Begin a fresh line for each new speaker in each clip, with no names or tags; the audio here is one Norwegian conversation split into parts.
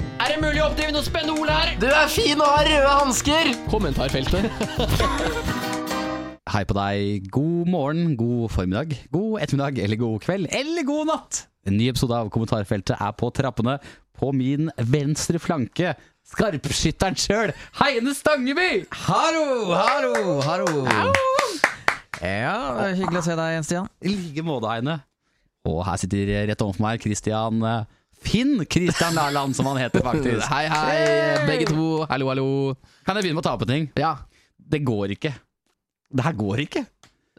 vi oppdrive noe spennende ord her?
Du er fin og har røde hansker!
Kommentarfeltet.
Hei på deg. God morgen, god formiddag, god ettermiddag eller god kveld eller god natt. En ny episode av Kommentarfeltet er på trappene. På min venstre flanke, skarpskytteren sjøl, Heine Stangeby!
Hallo, hallo, hallo. Ja, det er hyggelig å se deg igjen, Stian.
I like måte, Heine. Og her sitter rett overfor meg Christian eh, Finn Christian Larland, som han heter faktisk.
Hei, hei, begge to. Hallo, hallo.
Kan jeg begynne med å ta på ting?
Ja.
Det går ikke. Det her går ikke.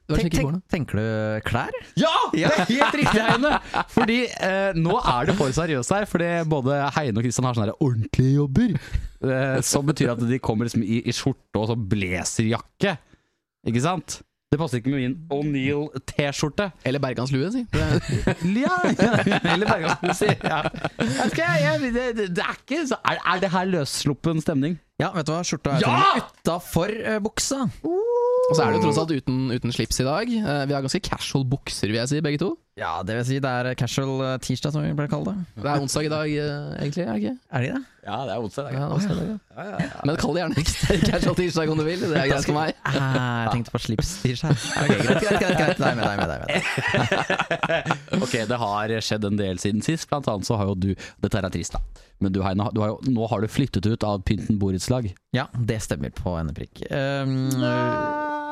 Du har
Tenk,
sjekket i går nå?
tenk, tenker du klær?
Ja! Det er helt riktig, Heine! Fordi eh, nå er det for seriøst her, fordi både Heine og Kristian har sånne her ordentlige jobber. Eh, som betyr at de kommer liksom i, i skjorte og sånn blazerjakke. Ikke sant? Det passer ikke med min O'Neill-T-skjorte.
Eller Berganslue, si. Det-
Ja, Eller Bergans sier ja. Jeg vet ikke, jeg, det, det, det er ikke så Er, er det her løssluppen stemning?
Ja, vet du hva? Skjorta er
Ja!
til og med utafor eh, buksa.
Og så er det jo tross alt uten, uten slips i dag. Eh, Vi har ganske casual bukser, vil jeg si, begge to.
Ja, det vil si det er casual eh, tirsdag, som vi pleier å kalle det.
Det er onsdag i dag, eh, egentlig. er det ikke?
Er de det?
Ja, det er onsdag.
Ja, det er onsdag i dag, ja. Men kall det gjerne casual tirsdag om du vil. Det er greit for meg.
Ah, jeg tenkte på slips-tirsdag. Ok, greit, greit, greit, greit. Nei, med deg, med deg, med deg.
Ok, det har skjedd en del siden sist. Blant annet så har jo du Dette her er trist, da. Men du, Heine, du har jo, nå har du flyttet ut av Pynten borettslag.
Ja, det stemmer på en prikk. Um,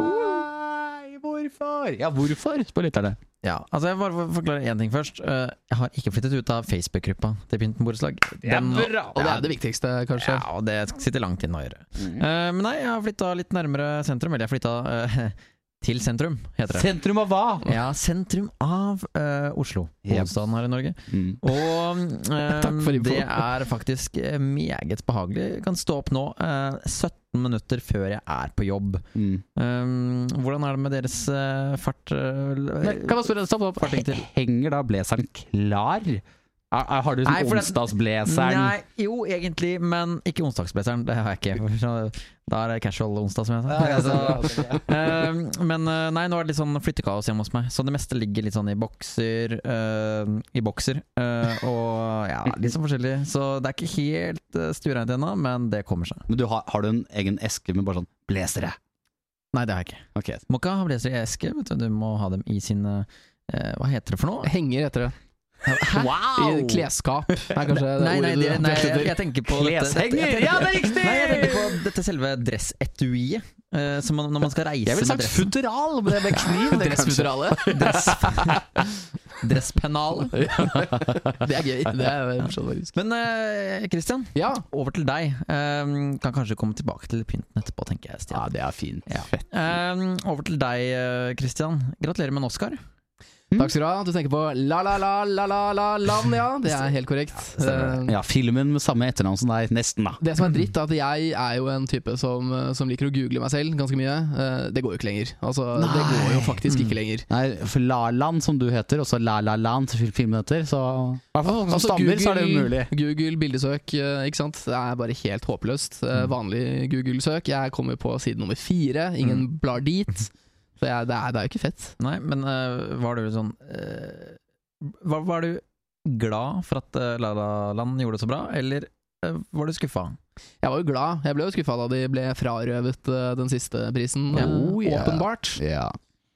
Nei, hvorfor? Ja, hvorfor, spør lytterne.
ja, altså jeg bare får forklare én ting først. Uh, jeg har ikke flyttet ut av Facebook-gruppa til Pynten borettslag. Den-
Og det er det viktigste, kanskje.
Ja, og det sitter langt inne å gjøre. Eh, men nei, jeg har flytta litt nærmere sentrum. Eller jeg flytta eh, til sentrum, heter det.
Sentrum av hva?
Ja, sentrum av eh, Oslo.
Yep.
Hovedstaden her i Norge.
Mm.
Og eh,
Takk for info.
det er faktisk eh, meget behagelig. Jeg kan stå opp nå eh, 17 minutter før jeg er på jobb.
Mm.
Um, hvordan er det med deres eh, fart? eh,
Men, kan man spørre, stopp, stopp.
Farting til.
Henger da blazeren klar? Er, er, har du
Nei,
sånn
for det-
onsdagsblazeren?
Nei, jo, egentlig, men ikke onsdagsblazeren. Det har jeg ikke. Da er det casual onsdag, som jeg sa. Eh, men eh, nei, nå er det litt sånn flyttekaos hjemme hos meg, så det meste ligger litt sånn i bokser. eh, I bokser eh, og ja, litt sånn forskjellig. Så det er ikke helt uh, stuereint ennå, men det kommer seg.
Men du har, har du en egen eske med bare sånn blazere?
Nei, det har jeg ikke.
Ok.
Må ikke ha blazer i eske, vet du. Du må ha dem i sine eh, Hva heter det for noe?
Henger etter det.
Wow!
I klesskap. Det er kanskje
Nei, nei,
ordet du
det, nei jeg,
etterlyser.
jeg tenker på dette- dette- jeg
Kleshenger!
tenker-
Ja, det er riktig!
Nei, jeg tenker på dette selve dressetuiet. eh, som man, når man skal reise
Jeg ville
med
sagt
dressen.
futteral, men det er med kniv. det kanskje.
Dressfuteralet.
Dresspennalet.
Det er gøy. Det er morsomt, faktisk.
Men eh, Christian,
Ja.
over til deg. Um, kan kanskje komme tilbake til pynten etterpå, tenker jeg.
Ja,
Stian.
det er fint.
Ja. Um, over til deg, eh, Christian. Gratulerer med en Oscar.
Takk skal du ha. Du tenker på la-la-la-la-la-la-land, ja. Det er helt korrekt.
Stemmer
Ja, filmen med samme etternavn som deg, nesten, da.
Eh, Det som er dritt, er at jeg er jo en type som, eh, som liker å google meg selv ganske mye. Eh, Det går jo ikke lenger. Altså, det
Nei. Mm.
går jo faktisk ikke lenger.
Nei, for Laland, som du heter, og så La La Land, som filmen heter, så I hvert fall som
Altså,
stammer, så er det umulig.
Google bildesøk, eh, ikke sant. Det er bare helt håpløst.
Mm.
Eh, Vanlig Google-søk. Jeg kommer på side nummer fire, ingen
Mm.
blar dit. Så jeg, det, er, det er jo ikke fett.
Nei, men eh, var du sånn eh, var, var du glad for at eh, La La Land gjorde det så bra, eller eh, var du skuffa?
Jeg var jo glad. Jeg ble jo skuffa da de ble frarøvet eh, den siste prisen,
Ja.
eh,
Oh, ja.
åpenbart.
Ja.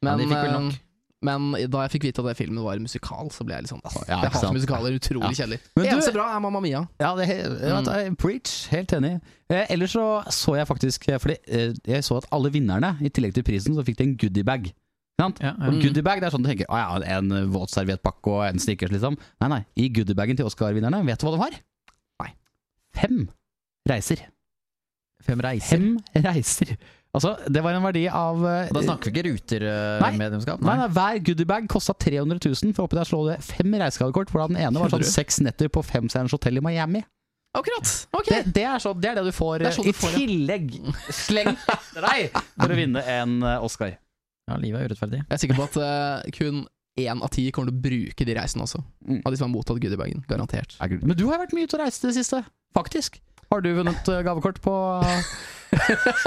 Ja, de fikk vel nok.
eh, men da jeg fikk vite at den filmen var en musikal, så ble jeg litt sånn ass,
Ja, ikke
Jeg hater
sant.
musikaler, utrolig kjedelig.
Men
Det
du-
eneste bra er Mamma Mia.
Ja, det, he- ja, det er- preach. Helt enig. Eh, ellers så så jeg faktisk eh, Fordi eh, jeg så at alle vinnerne, i tillegg til prisen, så fikk de en goodiebag. Sant?
Ja, ja.
Og goodiebag, det er sånn du tenker Å ja, en eh, våtserviettpakke og en snickers, liksom. Nei, nei. I goodiebagen til Oscar-vinnerne, vet du hva de har?
Nei.
Fem reiser.
Fem reiser?
Fem reiser. Altså, det var en verdi av eh,
Og Da snakker vi ikke eh,
Nei.
rutermedlemskap?
Nei, nei, Hver goodiebag kosta 300 000. For oppi der slår det fem reisegavekort. Hvordan den ene var sånn
Skjønner du?
seks netter på femstjerners hotell i Miami.
Akkurat! Ok!
Det, det, er sånn- det er det du får
Det er sånn
eh,
du får, ja.
i tillegg slengt etter deg for å vinne en eh, Oscar.
Ja, livet er urettferdig.
Jeg er sikker på at eh, kun én av ti kommer til å bruke de reisene også.
Mm.
Av de som har mottatt goodiebagen. Garantert.
Men du har vært mye ute og reist i det siste, faktisk. Har du vunnet eh, gavekort på Har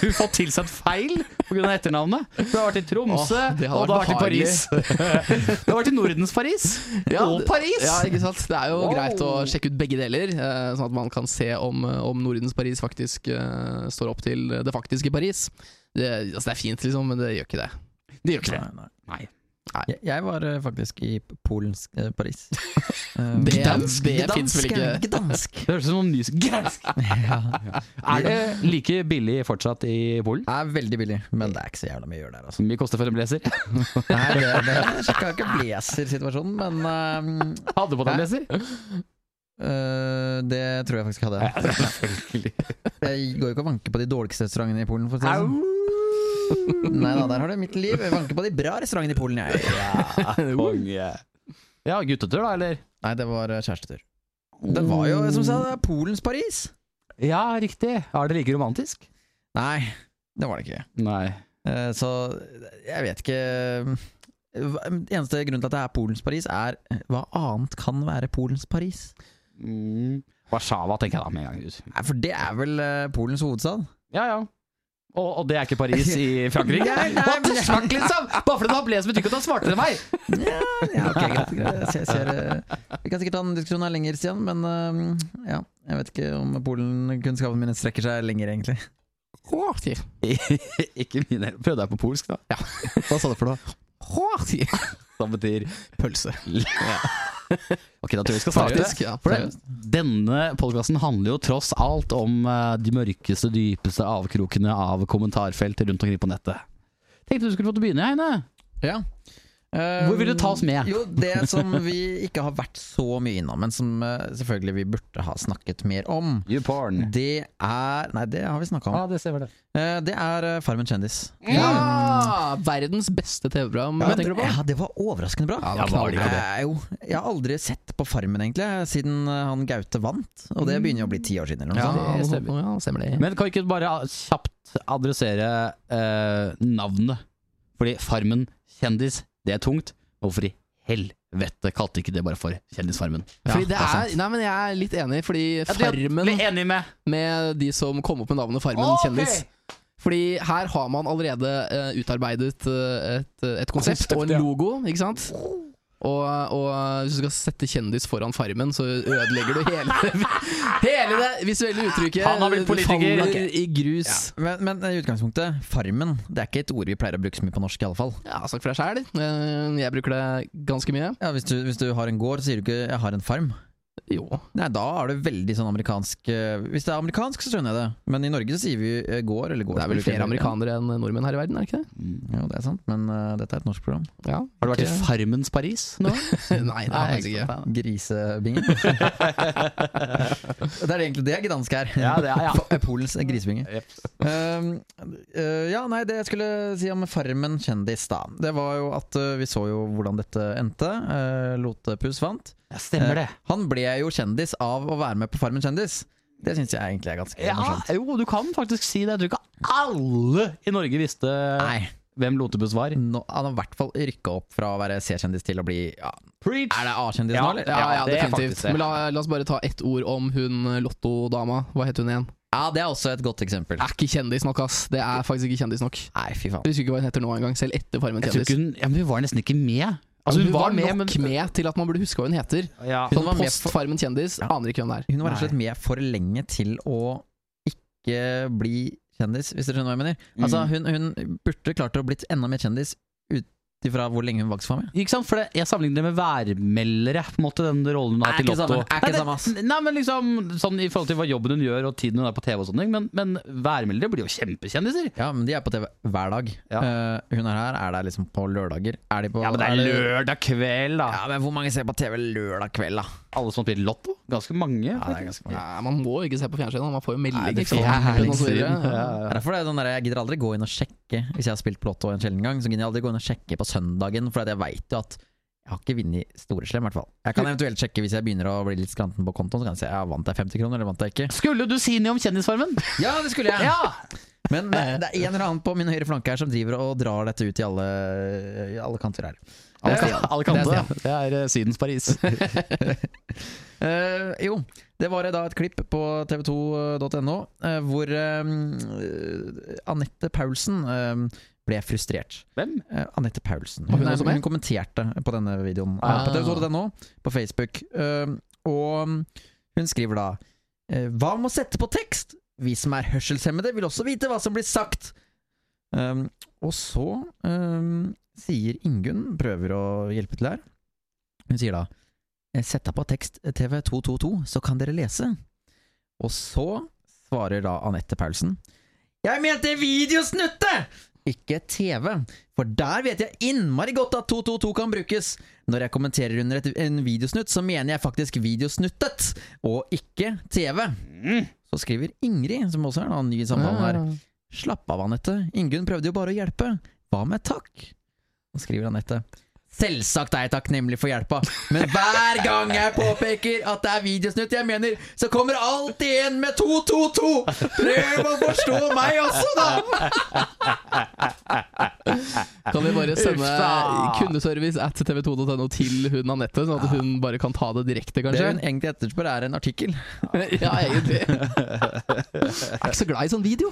du fått tilsendt feil pga. etternavnet? Du har vært i Tromsø,
Åh, det hadde
og du har vært
vært
i Paris. du har vært i Nordens Paris og
det-
Paris!
Ja, ikke sant? Det er jo
Wow.
greit å sjekke ut begge deler, eh, sånn at man kan se om, eh, om Nordens Paris faktisk eh, står opp til det faktiske Paris. Det, altså, det er fint, liksom, men det gjør ikke det.
Det gjør ikke det.
Nei, nei.
Nei.
Jeg, jeg var eh, faktisk i Polens eh, Paris. Eh,
Det-
Gdansk,
det
Gdansk,
finnes vel ikke.
Gdansk!
Det høres ut som noen nys... Gransk!
ja.
Er det like billig fortsatt i Polen?
Det er veldig billig, men det er ikke så jævla mye å gjøre der, altså.
Som mye koster for en blazer?
Nei, det, det jeg sjekka ikke blazer-situasjonen, men eh,
Hadde på deg
Hæ?
blazer?
eh, det tror jeg faktisk jeg hadde.
selvfølgelig.
Jeg går jo ikke og vanker på de dårligste restaurantene i Polen. For å si det
Au!
sånn. Nei da, der har du mitt liv. Jeg vanker på de bra restaurantene i Polen, jeg.
Ja, konge. Ja, guttetur, da, eller?
Nei, det var eh, kjærestetur. Det var jo, som sa, Polens Paris.
Ja, riktig. Er det like romantisk?
Nei, det var det ikke.
Nei.
Eh, Så jeg vet ikke eh, Hva- Eneste grunnen til at det er Polens Paris, er hva annet kan være Polens Paris?
Mm. Warszawa, tenker jeg da med en gang.
Nei, For det er vel eh, Polens hovedstad?
Ja, ja. Og, og det er ikke Paris i Frankrike?
Nei, nei,
What the
men-
fuck, liksom? Bare fordi du har blazer, betyr ikke at du er smartere enn meg!
Ja, ja ok, greit. greit. Jeg ser, jeg ser, eh, vi kan sikkert ta en diskusjon her lenger, Stian, men eh, ja, jeg vet ikke om Polen-kunnskapen min strekker seg lenger, egentlig.
Hårtir.
ikke min heller. Prøvde jeg på polsk, da?
Hva sa du for noe?
Hårtir.
Som betyr
Pølse.
Ok, da tror jeg vi skal starte.
Faktisk. Ja,
For det, denne podkasten handler jo tross alt om eh, de mørkeste, dypeste avkrokene av kommentarfelt rundt omkring på nettet. Tenkte du skulle fått begynne, Heine.
Ja.
Hvor vil du ta oss med?
Eh, Jo, det som vi ikke har vært så mye innom, men som eh, selvfølgelig vi burde ha snakket mer om,
YouPorn.
det er Nei, det har vi snakka om.
Ja, det ser vi det.
Eh, Det er eh, Farmen kjendis.
Ja! Verdens beste TV-program,
Men-
tenker du på?
Ja, det var overraskende bra.
Ja, var det ikke det?
Eh, jo, jeg har aldri sett på Farmen, egentlig, siden eh, han Gaute vant. Og
Mm.
det begynner jo å bli ti år siden, eller noe
Ja,
sånt.
Ja,
det stemmer.
stemmer. Ja, stemmer det.
Men kan vi ikke bare ah, kjapt adressere eh, navnet? Fordi Farmen kjendis, det er tungt. Hvorfor i helvete kalte ikke det bare for Kjendisfarmen?
Fordi det er, nei, men jeg er litt enig, fordi Farmen
enig med
med de som kom opp med navnet Farmen kjendis Fordi her har man allerede eh, utarbeidet eh, et, et konsept og en
ja.
logo, ikke sant? Og, og eh, hvis du skal sette kjendis foran Farmen, så ødelegger du hele, hele det visuelle uttrykket.
Han har blitt
Du
politiker.
faller i grus.
Men, men i utgangspunktet, Farmen det er ikke et ord vi pleier å bruke så mye på norsk. i alle fall
Ja, snakk for deg sjæl. Eh, Jeg bruker det ganske mye.
ja, hvis, du, hvis du har en gård, så sier du ikke 'jeg har en farm'.
Jo.
Nei, Da er det veldig sånn amerikansk eh, Hvis det er amerikansk, så skjønner jeg det. Men i Norge så sier vi eh, gård eller gård.
Det er vel flere amerikanere enn nordmenn her i verden, er det ikke det?
Jo, det er sant, men eh, dette er et norsk program.
Ja,
Har du vært i
ikke-
Farmens Paris nå?
Nei, det har jeg faktisk ikke.
Grisebingen. det er egentlig det dansk er.
Ja, det er- ja.
F- eh, Polens grisebinge. Um, uh, ja, nei, det jeg skulle si om Farmen kjendis, da. Det var jo at uh, vi så jo hvordan dette endte. Uh, Lotepus vant.
Ja, stemmer det.
Han ble jo kjendis av å være med på Farmen kjendis. Det syns jeg egentlig er ganske
Ja,
morsomt.
jo, du kan faktisk si det. Jeg tror ikke alle i Norge visste
Nei,
hvem Lotebus var.
nå, han har i hvert fall rykka opp fra å være C-kjendis til å bli ja,
Preach!
Er det A-kjendis
Ja,
nå, eller?
Ja,
Ja,
ja,
det er
definitivt.
faktisk det.
Men la, la oss bare ta ett ord om hun eh, lottodama. Hva het hun igjen?
Ja, det er også et godt eksempel.
Er ikke kjendis nok, ass. Det er faktisk ikke kjendis nok.
Nei, fy faen.
Jeg husker ikke hva hun heter nå engang, selv etter Farmen
Jeg tror
kjendis.
ikke hun, ja, men hun var nesten ikke med.
Altså, hun, var,
med,
nok med til at man burde huske hva hun heter.
Ja.
Sånn
var med
post Farmen kjendis,
Ja.
aner ikke hvem det er.
Hun var rett og slett med for lenge til å ikke bli kjendis, hvis dere skjønner hva jeg mener.
Mm.
Altså, hun, hun burde klart å blitt enda mer kjendis ut ifra hvor lenge hun faktisk var med.
Ikke sant? For det, jeg sammenligner det med værmeldere, på en måte, den rollen hun har
Er
til
ikke
Lotto.
samme, er ikke
Nei, det-
samme, ass.
Nei, men liksom, sånn I forhold til hva jobben hun gjør og tiden hun er på TV, og sånne ting men, men værmeldere blir jo kjempekjendiser.
Ja, men de er på TV hver dag.
Ja.
Eh, hun er her, er der liksom på lørdager. Er de på
Ja, men det er lørdag kveld, da.
Ja, men hvor mange ser på TV lørdag kveld, da?
Alle som har spilt Lotto? Ganske mange.
Ja, det er ganske mange.
Nei, man må jo ikke se på fjernsynet, man får jo
Nei,
melding.
det
ikke sant?
er
Men
lenge
også videre.
siden. Ja,
Det
ja.
er derfor det er sånn der, Jeg gidder aldri gå inn og sjekke hvis jeg har spilt på Lotto en sjelden gang. Så gidder jeg aldri gå inn og sjekke på søndagen, for at jeg veit jo at jeg har ikke vunnet Storeslem, i hvert fall. Jeg kan eventuelt sjekke hvis jeg begynner å bli litt skranten på kontoen. Så kan jeg si ja, vant jeg 50 kroner, eller vant jeg ikke?
Skulle du si noe om Kjendisfarmen?
Ja, det skulle jeg!
Ja!
Men det, det er en eller annen på min høyre flanke her som driver og drar dette ut i alle, i alle kanter her.
Alle
Eh,
kan- alle
Det er
kanter. Det er eh, Sydens Paris.
Eh, jo, Det var eh, da et klipp på tv2.no eh, hvor eh, Anette Paulsen eh, ble frustrert.
Hvem?
Eh, Anette Paulsen.
Var
Hun,
hun også med?
hun kommenterte på denne videoen
Ah.
eh, på tv2.no, på Facebook. Eh, og hun skriver da eh, Hva med å sette på tekst? Vi som er hørselshemmede, vil også vite hva som blir sagt. Um, og så um, sier Ingunn, prøver å hjelpe til her Hun sier da eh, Sett deg på tekst TV222, så kan dere lese. Og så svarer da Anette Paulsen Jeg mente videosnutte! Ikke TV. For der vet jeg innmari godt at 222 kan brukes. Når jeg kommenterer under et, en videosnutt, så mener jeg faktisk videosnuttet, og ikke TV. Så skriver Ingrid, som også er da ny i samtalen her. Slapp av, Anette. Ingunn prøvde jo bare å hjelpe. Hva med takk? Og skriver Anette. Selvsagt er jeg takknemlig for hjelpa, men hver gang jeg påpeker at det er videosnutt jeg mener, så kommer alltid en med 222! Prøv å forstå meg også, da!
Kan vi bare sende
Uffa!
kundeservice at tv2.no til hun Anette, sånn at hun bare kan ta det direkte,
Det
kanskje?
hun egentlig etterspør, er en artikkel.
ja, egentlig. Jeg er ikke så glad i sånn video.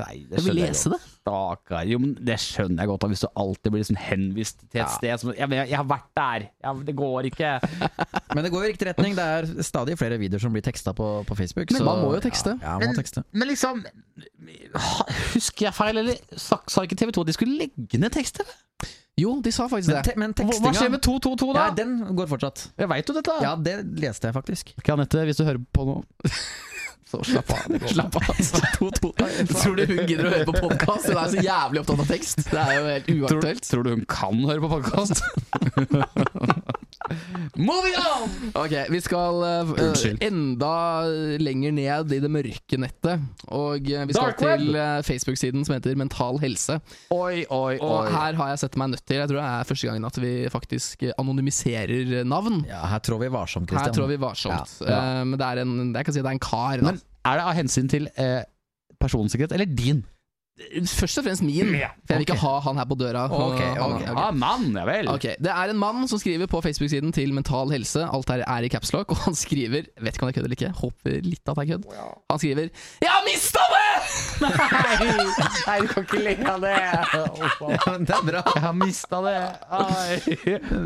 Nei, det
Jeg vil lese det.
Stakkar. Jo, men det skjønner jeg godt. da, Hvis du alltid blir liksom henvist til et sted som jeg, jeg, 'Jeg har vært der'. Ja, men det går ikke.
Men det går i riktig retning. Det er stadig flere videoer som blir teksta på, på Facebook.
Men man må jo tekste.
Ja, ja, man må tekste.
Men liksom ha- Husker jeg feil, eller sa sa ikke TV 2 at de skulle legge ned tekster?
Jo, de sa faktisk
Men,
det.
te men
Hva hva skjer
tekstinga
med 222 da?
ja, Den går fortsatt.
Jeg veit jo dette.
Ja, det leste jeg faktisk.
Ikke Anette, hvis du hører på nå. Så slapp av. det går bra.
Slapp av. altså. 222. Tror du hun gidder å høre på podkast? Hun er så jævlig opptatt av tekst. Det er jo helt
Tror,
uaktuelt.
tror du hun kan høre på podkast? Moving on!
Ok, vi skal eh, eh,
Unnskyld.
enda lenger ned i det mørke nettet. Og eh, vi skal
Dark web!
til eh, Facebook-siden som heter Mental helse.
Oi, oi,
Og her har jeg sett meg nødt til, jeg tror det er første gangen at vi faktisk eh, anonymiserer eh, navn.
Ja, her trår vi varsomt, Christian.
Her tror vi varsomt.
Ja, ja.
Eh, men det er en, jeg kan si det er en kar. Da.
Men er det av hensyn til eh, personsikkerhet eller din?
Eh, Først og fremst min,
Ja,
for jeg vil
ok.
ikke ha han her på døra.
Ok,
Han-
ok.
ok.
Ah, mann, ja vel.
Ok, Det er en mann som skriver på Facebook-siden til Mental Helse. Alt er, er i caps lock, og han skriver Vet ikke om det er kødd eller ikke. Håper litt at det er kødd. Han skriver 'Jeg har mista det!'
Nei, du kan ikke legge av det.
det er bra.
Jeg har mista det.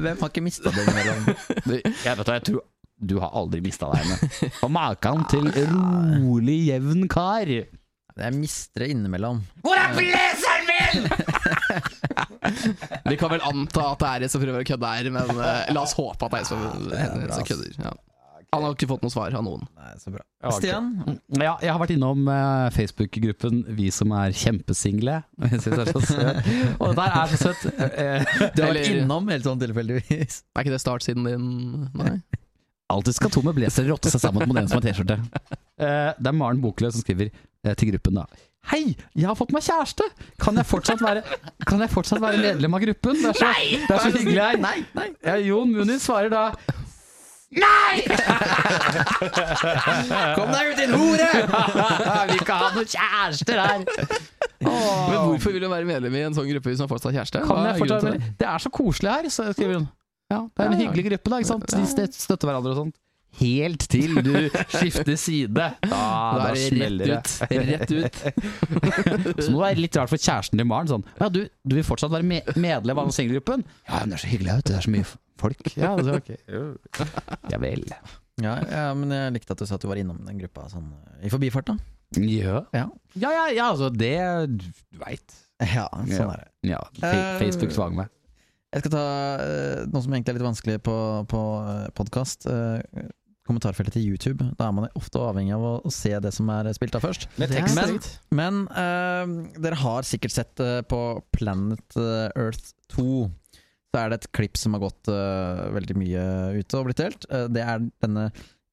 Hvem har ikke mista det innimellom?
Du, jeg vet hva, jeg tror du har aldri mista deg henne. Og maken til rolig, jevn kar.
Jeg mister det innimellom.
Hvor er blazeren min?!
Vi kan vel anta at det er en som prøver å kødde her, men eh, la oss håpe at det er en som, en som kødder. Ja. Han har ikke fått noe svar av noen.
Nei, så bra.
Ja, ok.
Stian,
Ja, jeg har vært innom eh, Facebook-gruppen Vi som er kjempesingle. Jeg synes det er så søt. Og dette her er så søtt. Eh,
du har vært
Eller-
innom helt sånn tilfeldigvis.
Er ikke det startsiden din? Nei?
Alltid skal to med blazer rotte seg sammen mot en som har T-skjorte. Eh, det er Maren Bokløv som skriver eh, til gruppen da. Hei, jeg har fått meg kjæreste! Kan jeg fortsatt være, kan jeg fortsatt være medlem av gruppen? Det er så, det er så hyggelig her.
Nei, nei.
Ja, Jon Munin svarer da
Kom deg ut, din hore!
Vi kan ha noen kjærester her!
Men hvorfor vil hun være medlem i en sånn gruppe hvis hun fortsatt har kjæreste?
Kan
Hva
jeg
er grunnen
fortsatt
til
være Det er så koselig her, så skriver hun. Ja, det er en hyggelig gruppe, da. ikke sant? De støt- støtter hverandre og sånt. Helt til du skifter side. Da,
Da
da
er
smeller
det
det.
rett ut. Rett ut.
Så må det være litt rart for kjæresten til Maren. Sånn, ja, du, du vil fortsatt være me medlem av den singelgruppen? Ja, men det er så hyggelig, vet du. Det er så mye f- folk. Ja, det er ok. Ja vel.
Ja, ja, men jeg likte at du sa at du var innom den gruppa sånn i forbifarten.
Ja.
Ja.
Ja, ja, ja, altså, det Du veit.
Ja, sånn
Ja.
er det.
Ja,
Eh,
Fa- Facebook svang meg.
Jeg skal ta eh, noe som egentlig er litt vanskelig på, på podkast. Kommentarfeltet til YouTube. Da er man ofte avhengig av å å se det som er eh, spilt av først.
Med
Det er
tekst.
Men-
strengt.
Men eh, dere har sikkert sett eh, på Planet eh, Earth 2 Så er det et klipp som har gått eh, veldig mye ute og blitt delt. Eh, det er denne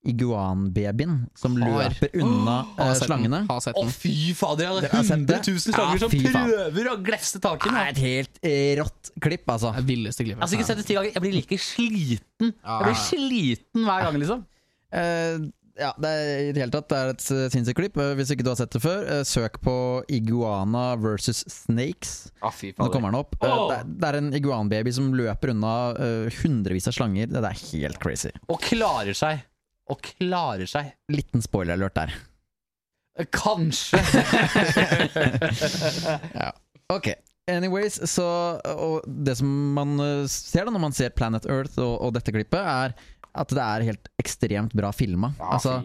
iguanbabyen som
Har.
løper unna eh,
Har sett den.
slangene.
Har sett den.
fy fader, jeg
Dere har sett det?
100 000
Ja, fy faen.
prøver å glefse tak
Det er et helt eh, rått klipp, altså.
Det er villeste klippet.
Altså, ikke sett det ti ganger. Jeg blir like sliten. Jeg blir sliten hver gang, liksom.
Eh, ja, det er, i det hele tatt det er et eh, sinnssykt klipp. Eh, Hvis ikke du har sett det før, eh, søk på iguana versus snakes. Nå kommer den opp. Eh,
Åh!
det, er, det er en iguanbaby som løper unna eh, hundrevis av slanger. Det er helt crazy.
Og klarer seg. og klarer seg.
Liten spoiler-alert der.
Kanskje.
Ok. Anyways, så og Det som man eh, ser da når man ser Planet Earth og, og dette klippet, er at det er helt ekstremt bra filma. altså,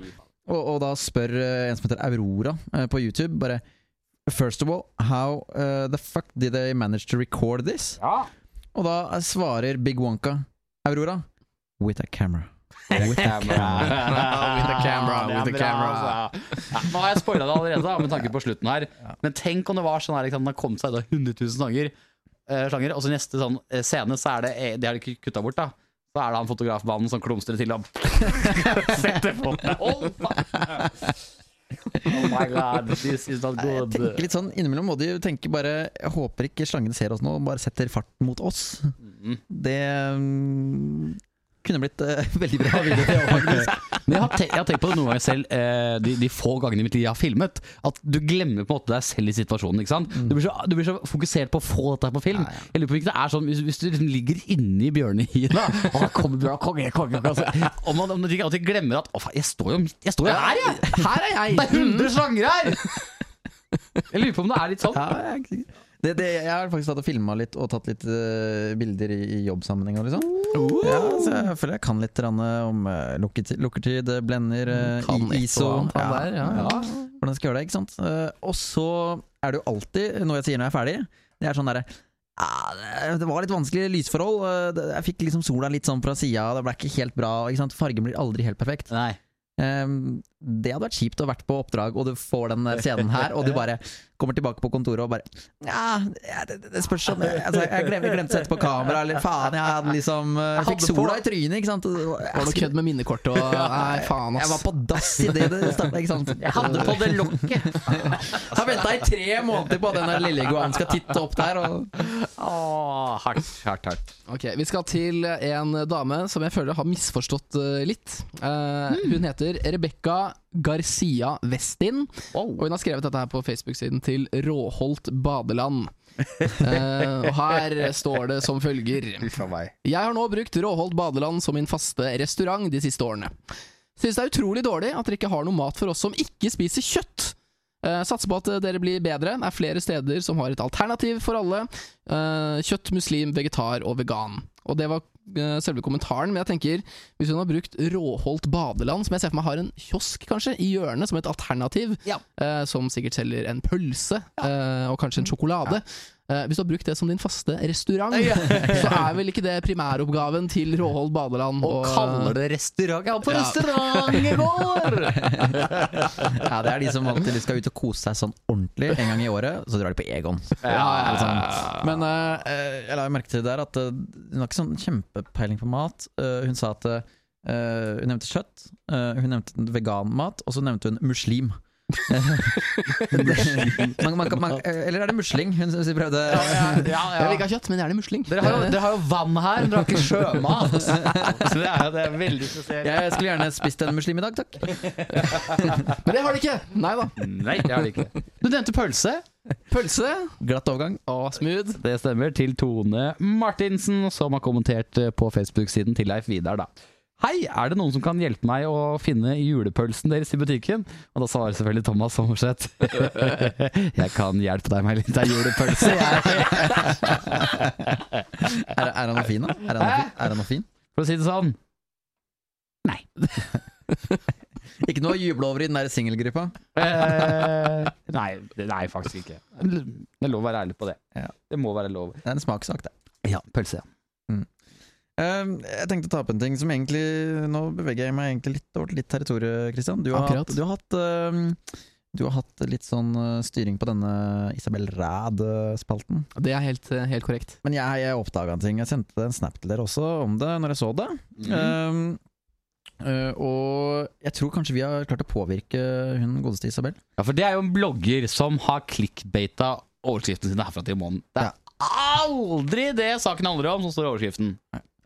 og, og da spør eh, en som heter Aurora eh, på YouTube, bare First of all, how eh, the fuck did they manage to record this?
ja.
Og da svarer Big Wonka Aurora with a camera.
With a camera.
With a camera,
Det er
with
bra,
a camera.
altså. Ja, nå har jeg spoila det allerede, da, med tanke på slutten her. Men tenk om det var sånn her, liksom, den har kommet seg ut av 100 000 sanger, eh, sjanger, og så neste sånn eh, scene, så er det eh, Det har de ikke kutta bort, da. Så er det han fotografmannen som klumstrer til ham. Setter på oh, oh my god, this is not
Jeg
good.
tenker litt sånn innimellom må de jo tenke bare Jeg håper ikke slangene ser oss nå og bare setter fart mot oss. Det mm, kunne blitt eh, veldig bra video. Det også, faktisk.
Men jeg har, tenkt, jeg har tenkt på det noen ganger selv, eh, de, de få gangene i mitt liv jeg har filmet, at du glemmer på en måte deg selv i situasjonen. ikke sant? Du, blir så, du blir så fokusert på å få dette her på film. Jeg lurer på om ikke det er sånn, Hvis, hvis du liksom ligger inni bjørnehina og da kommer bjørn, konge, konge, konge, altså, om man, om man ikke alltid glemmer at å faen, jeg står jo midt jeg står jo her, jeg! Mm.
Her er jeg!
Det er 100 slanger her! Jeg lurer på om det er litt sånn.
Ja, jeg, er ikke sikker. det, det, jeg har faktisk tatt og filma litt og tatt litt eh, bilder i, i jobbsammenheng. Og liksom. ja, så jeg føler jeg kan litt grann, eh, om eh, lukketid, lukketid, eh, blender, eh,
Mm, Kan et og
i- ISO
annet, han der, ja.
Hvordan skal jeg gjøre det, ikke sant? Eh, og så er det jo alltid noe jeg sier når jeg er ferdig. Det er sånn derre «Ah, det- det var litt vanskelige lysforhold. eh, det- Jeg fikk liksom sola litt sånn fra sida. Det ble ikke helt bra. Ikke sant? Fargen blir aldri helt perfekt.
Nei.
Ehm, det hadde vært kjipt å vært på oppdrag, og du får den eh, scenen her, og du bare kommer tilbake på kontoret og bare Ja, det, det- det spørs om jeg, altså, jeg glemte, glemte å sette på kamera, eller faen, jeg hadde liksom eh, Jeg fikk
hadde på-
sola i trynet, ikke sant? Og-
Var det noe kødd med minnekortet og Nei, faen,
Jeg var
ass.
på dass i det det starta, ikke sant? Jeg hadde på det lokket. Har venta i tre måneder på at den der lille iguanen skal titte opp der, og
Åh, hardt, hardt, hardt.
Ok, Vi skal til en dame som jeg føler har misforstått eh, litt. Eh,
Hmm.
Hun heter Rebekka Garcia Westin, og hun har skrevet dette her på Facebook-siden til Råholt badeland. Eh, og her står det som følger. Jeg har nå brukt Råholt badeland som min faste restaurant de siste årene. Synes det er utrolig dårlig at dere ikke har noe mat for oss som ikke spiser kjøtt. Eh, satser på at dere blir bedre. Det er flere steder som har et alternativ for alle. Eh, kjøtt, muslim, vegetar og vegan. Og det var eh, selve kommentaren, men jeg tenker hvis hun har brukt Råholt badeland, som jeg ser for meg har en kiosk kanskje, i hjørnet som et alternativ,
Ja.
eh, som sikkert selger en pølse eh, og kanskje en sjokolade Eh, Hvis du har brukt det som din faste restaurant,
Ja.
så er vel ikke det primæroppgaven til Råholt badeland.
Og kaller det restaurant. Jeg var på
Ja.
restaurant i går!
Ja, det er de som alltid skal ut og kose seg sånn ordentlig en gang i året, så drar de på Egon.
Ja,
Litt sånn. Men eh, eh, jeg la jo merke til det der at eh, hun har ikke sånn kjempepeiling på mat. Eh, hun sa at eh, hun nevnte kjøtt, eh, hun nevnte veganmat, og så nevnte hun muslim. man, man, kan- man, eh, eller er det musling? Hun s- prøvde
ja,
Jeg vil ikke ha kjøtt, men gjerne musling.
Dere har, jo, dere har jo vann her, men dere har ikke sjømat. Så det er, det er veldig spesielt.
Jeg skulle gjerne spist en muslim i dag, takk.
Men det har de ikke! Nei da.
Nei, det har de ikke. Du nevnte pølse.
Pølse
Glatt overgang.
og smooth.
Det stemmer. Til Tone Martinsen, som har kommentert eh, på Facebook-siden til Leif Vidar, da. Hei, er det noen som kan hjelpe meg å finne julepølsen deres i butikken? Og da svarer selvfølgelig Thomas Sommerseth. Jeg kan hjelpe deg med litt av julepølse, jeg.
Er, er han noe fin, da? Er han noe fin? Er han noe fin?
For å si det sånn.
Ikke noe å juble over i den der singelgruppa.
Eh, nei, nei, faktisk ikke. Det er lov å være ærlig på det.
Ja.
Det må være lov.
Det er en smakssak, det.
Ja, pølse.
Um, jeg tenkte å ta opp en ting som egentlig Nå beveger jeg meg egentlig litt over til ditt territorium, Christian. Du har,
Akkurat.
hatt, du, har hatt, um, du har hatt litt sånn uh, styring på denne Isabel Ræd-spalten.
Det er helt, eh, helt korrekt.
Men jeg, jeg oppdaga en ting. Jeg sendte en snap til dere også om det når jeg så det. Um, uh, og jeg tror kanskje vi har klart å påvirke hun godeste Isabel.
Ja, for det er jo en blogger som har clickbaita overskriftene sine herfra til i måneden. Det er aldri det saken handler om, som står i overskriften.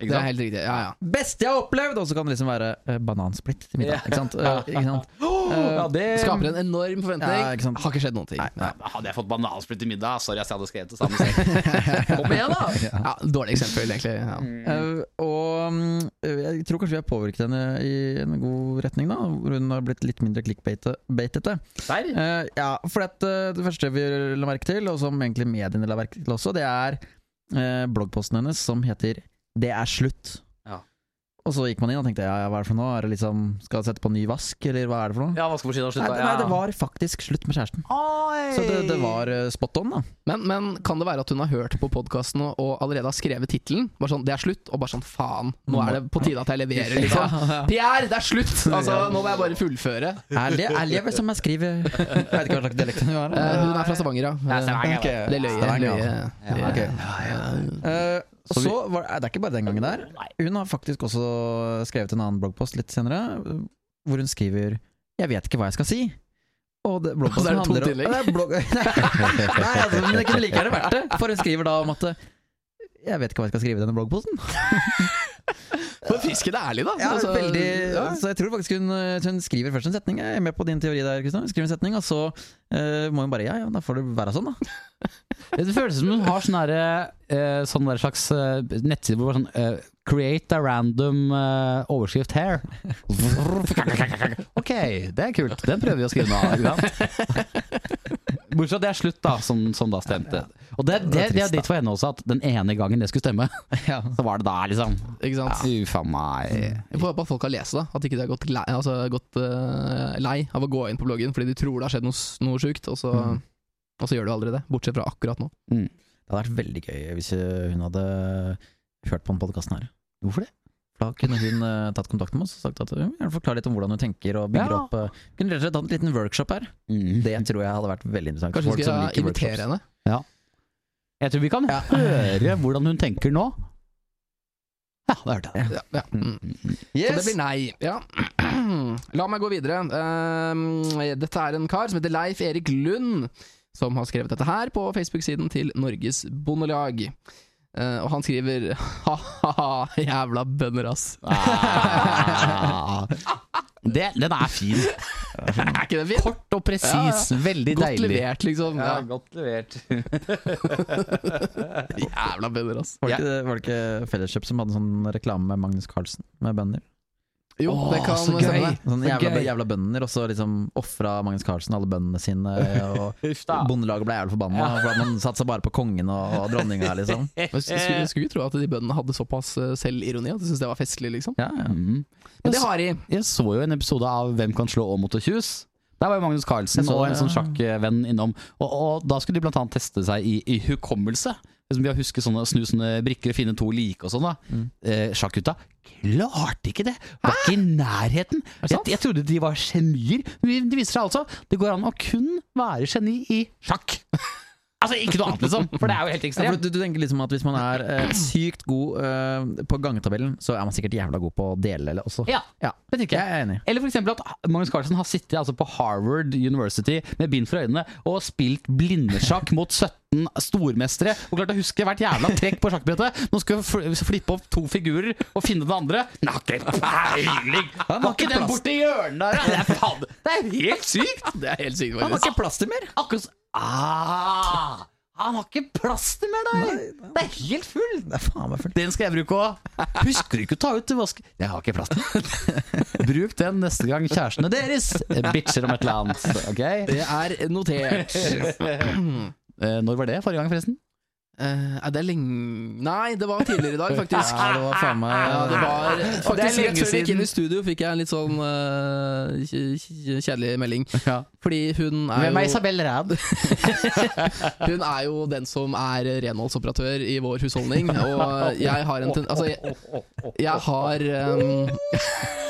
Det
Ikke
er
sant?
helt riktig. Ja, ja.
Beste jeg har opplevd! Og så kan det liksom være uh, banansplitt til middag. Ikke sant? Uh, ikke sant? Eh,
ja, det
Det skaper en enorm forventning.
Ja, ikke sant.
Har ikke skjedd noen ting. Ja.
Hadde jeg fått banansplitt til middag, sorry ass, jeg hadde skrevet det samme selv. Kom igjen, da!
Ja, dårlig eksempel, egentlig. Ja.
Uh, og mm, jeg tror kanskje vi har påvirket henne i en god retning, da. Hvor hun har blitt litt mindre clickbaitete.
Der?
Eh, ja, for at, eh, det første vi la merke til, og som egentlig mediene la merke til også, det er eh, bloggposten hennes som heter 'Det er slutt'.
Ja.
Og så gikk man inn og tenkte ja, ja, hva er det for noe? Er det liksom, skal jeg sette på ny vask, eller hva er det for noe?
Ja, vaskemaskinen har
nei,
slutta.
det, nei, det var faktisk slutt med kjæresten. Så det, det var eh, spot on, da.
Men, men kan det være at hun har hørt på podkasten og, og allerede har skrevet tittelen? Bare sånn 'det er slutt', og bare sånn 'faen, nå er det på tide at jeg leverer', liksom. Pierre, det er slutt! Altså, nå må jeg bare fullføre.
Ærlig, ærlig er vel som jeg skriver Jeg vet ikke hva slags dialekt hun har.
Eh, hun er fra Stavanger, ja. Eh,
Ok.
Det løy jeg.
Stavanger,
løy
ja.
jeg.
Ja, ok. Eh,
Så vi-
så var, eh, det er ikke bare den gangen der. Hun har faktisk også skrevet en annen bloggpost litt senere, eh, hvor hun skriver 'Jeg vet ikke hva jeg skal si'. Og det,
Og så
bloggposten
er det to
handler om
tillegg.
Nei, blogg- Nei, altså, men det kunne like gjerne vært det. For hun skriver da om at eh, 'Jeg vet ikke hva jeg skal skrive i denne bloggposten'.
Men friskende ærlig, da.
Ja,
Altså,
veldig,
ja.
Så jeg tror faktisk hun, eh, hun skriver først en setning. Jeg er med på din teori der, Kristian. Hun Skriver en setning, og så eh, må hun bare Ja, ja, da får det være sånn, da.
Det føles som hun har sånn derre, eh, sånn der slags eh, nettside hvor det er sånn eh, Create a random eh, overskrift here. Ok, det er kult. Den prøver vi å skrive nå. ikke sant? Bortsett fra at det er slutt, da, som, som da stemte. Og det, det, det er dritt for henne også, at den ene gangen det skulle stemme,
Ja.
så var det da, liksom.
Ikke sant?
Uffa meg.
Vi får håpe at folk har lest det, at ikke de har gått, lei, altså, gått eh, lei av å gå inn på bloggen fordi de tror det har skjedd noe, s- noe sjukt, og, så-
Mm.
og så gjør det jo aldri det. Bortsett fra akkurat nå.
Det hadde vært veldig gøy hvis eh, hun hadde hørt på den podkasten her.
Hvorfor det?
For Da kunne hun eh, tatt kontakt med oss og sagt at hun vil forklare litt om hvordan hun tenker og bygger
Ja.
opp eh, Kunne rett og slett hatt en liten workshop her.
Mm.
Det tror jeg hadde vært veldig interessant.
Kanskje vi
Folk som
skal
liker
invitere
workshops.
henne?
Jeg tror vi kan høre hvordan hun tenker nå. Ja, det hørte jeg.
Ja, ja. Mm. Så det
Yes!
blir nei. Ja. La meg gå videre. Ehm, dette er en kar som heter Leif Erik Lund, som har skrevet dette her på Facebook-siden til Norges Bondelag. Eh, og han skriver ha-ha-ha, jævla bønder, ass.
Ah. Det, den er fin.
Er ikke det fint?
Kort og presis. Veldig
Godt
deilig.
levert, liksom. Ja,
godt levert.
jævla bønder, ass.
Var det, ikke, var det ikke Felleskjøp eh, som hadde sånn reklame med Magnus Carlsen, med bønder?
Jo,
Åh,
det kan
så
stemme.
gøy.
Sånn
Så
jævla,
gøy.
jævla bønder, og så liksom ofra Magnus Carlsen alle bøndene sine. Og
Huff da.
Bondelaget ble jævlig forbanna, for at man satsa bare på kongen og, og dronninga, liksom.
Men Skulle, skulle vi tro at de bøndene hadde såpass eh, selvironi at de syntes det var festlig, liksom.
Ja, ja.
Mm.
Men det har de.
Jeg så jo en episode av Hvem kan slå Åmot og Kjus. Der var jo Magnus Carlsen
Jeg så
og
det,
en sånn
ja.
sjakkvenn innom. Og, og da skulle de blant annet teste seg i, i hukommelse. Liksom ved å huske sånne, snu sånne brikker og finne to like og sånn. da eh, Sjakkgutta klarte ikke det! Var ikke i nærheten! Jeg,
sant?
jeg trodde de var genier, men det viser seg altså det går an å kun være geni i sjakk! Altså ikke noe annet, liksom! For det er jo helt
Ja, for
ekstremt.
du, du tenker liksom at Hvis man er eh, sykt god eh, på gangetabellen, så er man sikkert jævla god på å dele eller også.
Ja, det tenker jeg.
Jeg er enig.
Eller for eksempel at Magnus Carlsen har sittet altså, på Harvard University med bind for øynene og spilt blindesjakk mot 17 stormestere og klart å huske hvert jævla trekk på sjakkbrettet. Nå skal vi fl- flippe opp to figurer og finne den andre. Nei, ikke peiling! Var ikke den borti hjørnet der? ja? Det er, faen, det er helt sykt!
Det er helt sykt,
Han har
faktisk.
ikke plass til mer!
Akkurat så- ah, Han har ikke plass til mer der! Det er helt full!
Det er faen meg fullt.
Den skal jeg bruke òg. Husker du ikke å ta ut vask... Jeg har ikke plass til den. Bruk den neste gang kjærestene deres bitcher om et eller annet. Ok?
Det er notert.
Eh, Når var det? Forrige gang, forresten?
Eh, er det lenge Nei, det var tidligere i dag, faktisk.
Ja, det var faen meg
Ah,
Ja, det var
Og det er
faktisk
lenge
rett før jeg gikk
siden.
inn i studio, fikk jeg en litt sånn eh, kj- kj- kjedelig melding. Fordi hun er,
Hvem er
jo,
Isabel Ræd?
hun er jo den som er renholdsoperatør i vår husholdning, og jeg har en ten... Altså, jeg, jeg har ehm,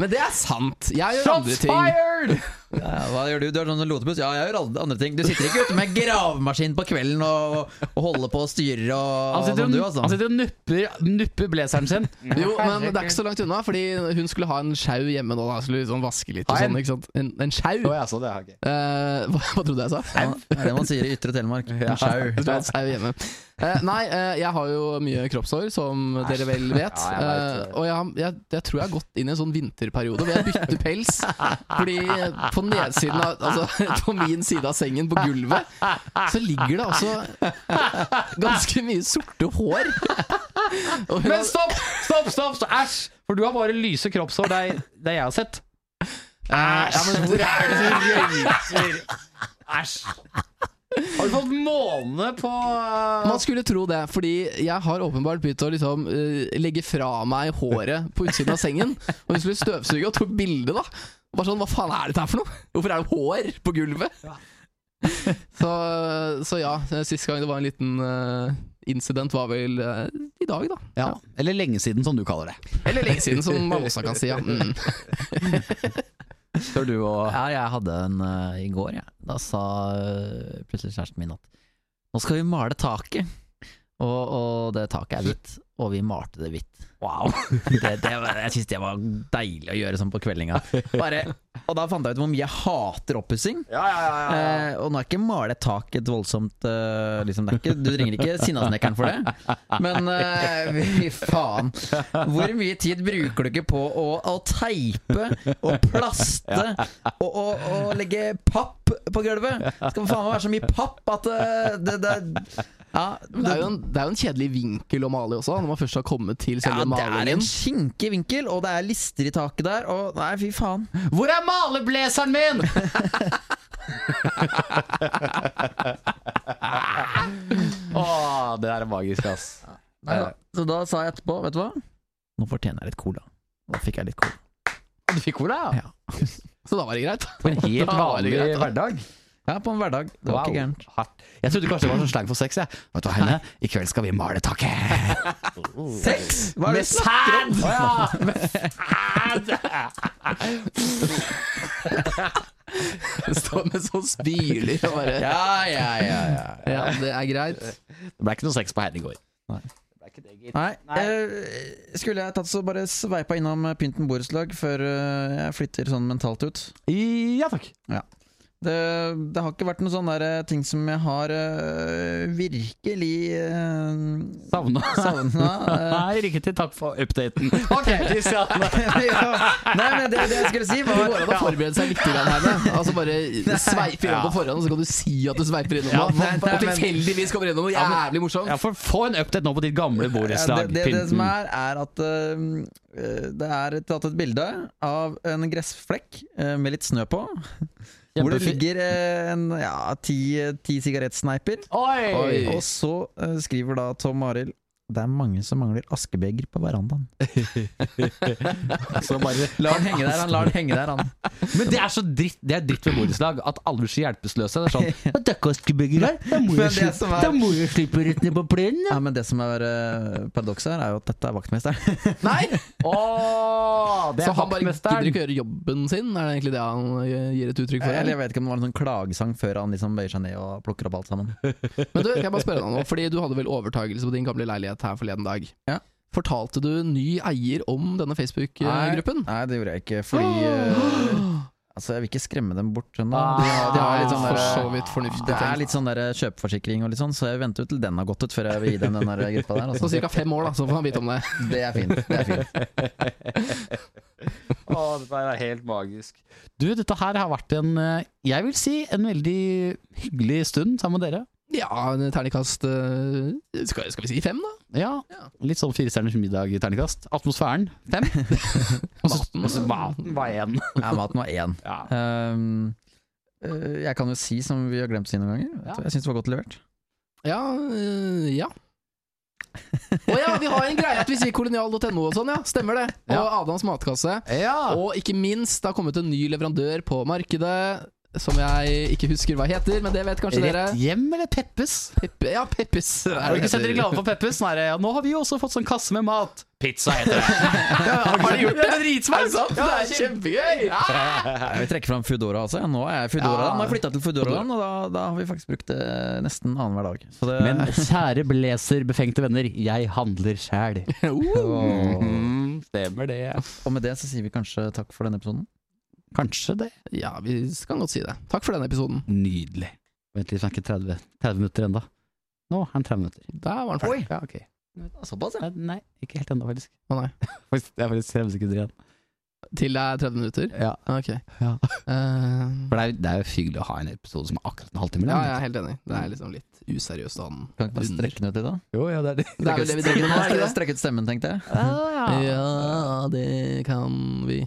Men det er sant! Jeg gjør andre ting.
fired!
Ja,
ah.
hva gjør du? Du er sånn lotebuss? Ja, jeg gjør alle andre ting. Du sitter ikke ute med gravemaskin på kvelden og, og holder på og styrer og
Han sitter
sånn, du,
og
altså.
han sitter og nupper, nupper blazeren sin.
Mm.
Jo, men det er ikke så langt unna, fordi hun skulle ha en sjau hjemme nå. Da. Skulle liksom vaske litt og
Ha en?
sånn, ikke sant? En, en sjau?
ja, så det har jeg ikke.
Eh, hva, hva trodde jeg sa?
Ja, det er det man sier i Ytre Telemark. En sjau.
Du vet, jeg er jo hjemme. Eh, nei, eh, jeg har jo mye kroppshår, som dere vel vet.
Ja, jeg vet det.
Eh, og jeg, har- jeg, jeg tror jeg har gått inn i en sånn vinterperiode hvor jeg bytter pels. Fordi eh, på nedsiden av Altså på min side av sengen, på gulvet, så ligger det altså ganske mye sorte hår. Og hun
Men
har,
stopp! Stopp, stopp! stopp. Æsj! For du har bare lyse kroppshår. Det er det jeg har sett. Æsj! Ja, men hvor er det du røyser? Æsj! Har du fått måne på eh?
man skulle tro det, fordi jeg har åpenbart begynt å liksom, eh, legge fra meg håret på utsiden av sengen. Og hun skulle støvsuge og tok bilde, da. Og bare sånn, Hva faen er dette her for noe? Hvorfor er det hår på gulvet? Så, så ja, sist gang det var en liten eh, incident, var vel eh, i dag, da.
Ja, Eller lenge siden, som du kaller det.
Eller lenge siden, som man også kan si. Ja. Mm.
Tør du å
Ja, jeg hadde en eh, i går, jeg. Da sa eh, plutselig kjæresten min at nå skal vi male taket. Og, og det taket er hvitt, og vi malte det hvitt.
Wow.
Det, det, var- jeg syns det var deilig å gjøre sånn på kveldinga. Bare, og da fant jeg ut hvor mye jeg hater oppussing.
Ja, ja, ja, ja.
Eh, og nå er ikke male et tak et voldsomt eh, liksom, det er ikke, Du ringer ikke Sinnasnekkeren for det. Men eh, fy faen. Hvor mye tid bruker du ikke på å, å teipe og plaste og, og, og legge papp på gulvet? Det skal faen meg være så mye papp at eh, det, det, ja,
Men Det er, jo en, det er jo en kjedelig vinkel å male i også, når man først har kommet til
ja,
selve
det er en
malingen.
skinkig vinkel, og det er lister i taket der. Og nei, fy faen.
Hvor er maleblazeren min?! Å, det der er magisk, ass.
Nei, da. Så da sa jeg etterpå, vet du hva? Nå fortjener jeg litt cola. Og da fikk jeg litt cola.
Du fikk cola, ja?
Så da var det greit.
På en
Ja,
helt
det var
vanlig
greit, da.
hverdag.
Ja, på en hverdag. Det var
Wow.
ikke gærent.
Hardt. Jeg trodde kanskje det var sånn slang for sex. Jeg. Vet du hva, Heine, I kveld skal vi male taket!
Sex! Hva er det?
sæd! Å ja.
Stå med sånn spyler og bare
Ja, ja, ja, ja.
Ja, det er greit.
Det ble ikke noe sex på Heine i går.
Nei, eh, skulle jeg tatt så bare sveipa innom eh, Pynten borettslag før eh, jeg flytter sånn mentalt ut?
Ja takk.
Det, det har ikke vært noen sånne der, eh, ting som jeg har eh, virkelig eh, uh,
Savna.
savna.
Nei, riktig. Takk for updaten. Ok, Christian.
Nei, men det, det jeg skulle si,
Det
var
går an å forberede seg litt grann her. da. Altså Bare sveipe
Ja.
innom på forhånd, og så kan du si at du sveiper innom.
Ja,
noe,
nei, nei,
og
men-
tilfeldigvis kommer innom noe jævlig morsomt.
Ja, for Få en update nå på ditt gamle
Ja,
borettslag.
Eh, det, det, det som
Pynten.
er, er at eh, det er tatt et bilde av en gressflekk eh, med litt snø på. Hvor det
Kjempefint.
ligger eh, en, ja, ti, ti sigarettsneiper.
Oi!
Og så eh, skriver da Tom Arild det er mange som mangler askebeger på verandaen.
Så bare
La den henge der, han. lar den henge der, han.
Men det er så dritt Det er dritt ved borettslag at alle blir så hjelpeløse. Det er sånn «Å, 'Det er ikke askebegger her. Da må
Men
jeg
det
slippe-
som er-
da må jeg slippe rett ned på plenen.'
Ja, men det som er eh, paradokset her, er jo at dette er vaktmesteren.
Nei!
Åh, det
Så
er
han bare
vaktmesteren.
gidder ikke å gjøre jobben sin? Er det egentlig det han eh, gir et uttrykk for?
Eller jeg vet ikke om det var en sånn klagesang før han liksom bøyer seg ned og plukker opp alt sammen.
Men du, kan jeg bare spørre deg nå, fordi du hadde vel overtagelse på din gamle leilighet her forleden dag.
Ja.
Fortalte du ny eier om denne Facebook-gruppen?
Nei, det gjorde jeg ikke, fordi eh, Altså, jeg vil ikke skremme dem bort. skjønner du. De har, de har litt sånn
Ah, For så
der,
vidt fornuftig
det er
tenkt.
litt sånn der kjøpeforsikring og litt sånn, så jeg venter jo til den har gått ut før jeg vil gi dem den der gruppa der.
Så
Altså.
ca. Sånn fem år, da, så får han vite om det.
Det er fint. Det er fint.
Åh, dette er helt magisk. Du, dette her har vært en, eh, jeg vil si, en veldig hyggelig stund sammen med dere.
Ja, en terningkast eh, skal, skal vi si fem, da?
Ja, litt sånn firestjerners middag i terningkast. Atmosfæren, fem. Og så-
Maten.
og så maten var én.
Ja, maten var én.
Ja.
Ehm, eh, jeg kan jo si, som vi har glemt å si noen ganger,
Ja.
at jeg syns det var godt levert.
Ja. eh, ja. Å ja, vi har en greie at vi sier kolonial.no og sånn, ja. Stemmer det. Og
Ja.
Adams matkasse.
ja.
Og ikke minst, det har kommet en ny leverandør på markedet. Som jeg ikke husker hva heter, men det vet kanskje dere.
Rett hjem eller Peppes?
Peppe- Ja, Peppes. er det
Har du ikke
det
sett
heter.
reklame for Peppes? Nei, ja, nå har vi jo også fått sånn kasse med mat. Pizza heter det. Ja, har de gjort det? Det er dritsmart. Ja, det er kjempe-
kjempegøy!
Jeg vil trekke fram Foodora også. Ja, nå er jeg Foodora.
Ja.
Nå har jeg flytta til Foodora-land, og da, da har vi faktisk brukt det nesten annenhver dag. Så det,
Men kjære blazer, befengte venner, jeg handler sjæl. Mhm, stemmer det.
og med det så sier vi kanskje takk for denne episoden.
Kanskje det.
Ja, vi kan godt si det. Takk for denne episoden.
Nydelig. Vent litt, det er ikke 30, 30 minutter ennå. Nå er den 30 minutter.
Der var den ferdig.
Ja, ok.
Såpass, ja.
Nei, Nei, ikke helt ennå, faktisk.
Å, nei.
Faktisk, Det er faktisk 30 sekunder igjen.
Til det er 30 minutter?
Ja.
Ok.
Ja.
Eh,
For det er, jo- det er jo hyggelig å ha en episode som er akkurat en halvtime
ja,
lang.
jeg er helt enig. Det
Mm.
er liksom litt useriøst av den.
Kan ikke bare strekke den ut litt, da?
Jo, ja, det er det.
Det er vel det vi driver med nå, er
Strekke,
det
strekke ut stemmen, tenkte jeg.
ikke det? Ja, det kan vi.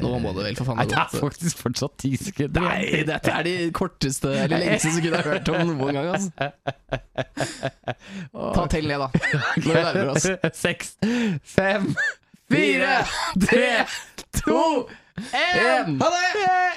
Nå må det vel for faen
Nei,
ha
det er
gått.
faktisk fortsatt ti sekunder.
Nei, dette er de korteste eller lengste sekundene jeg har hørt om noen gang. Altså. Ta til ned, da. Nå nærmer vi oss.
Seks, fem,
Fire, tre, to,
en.
én!
Ha det!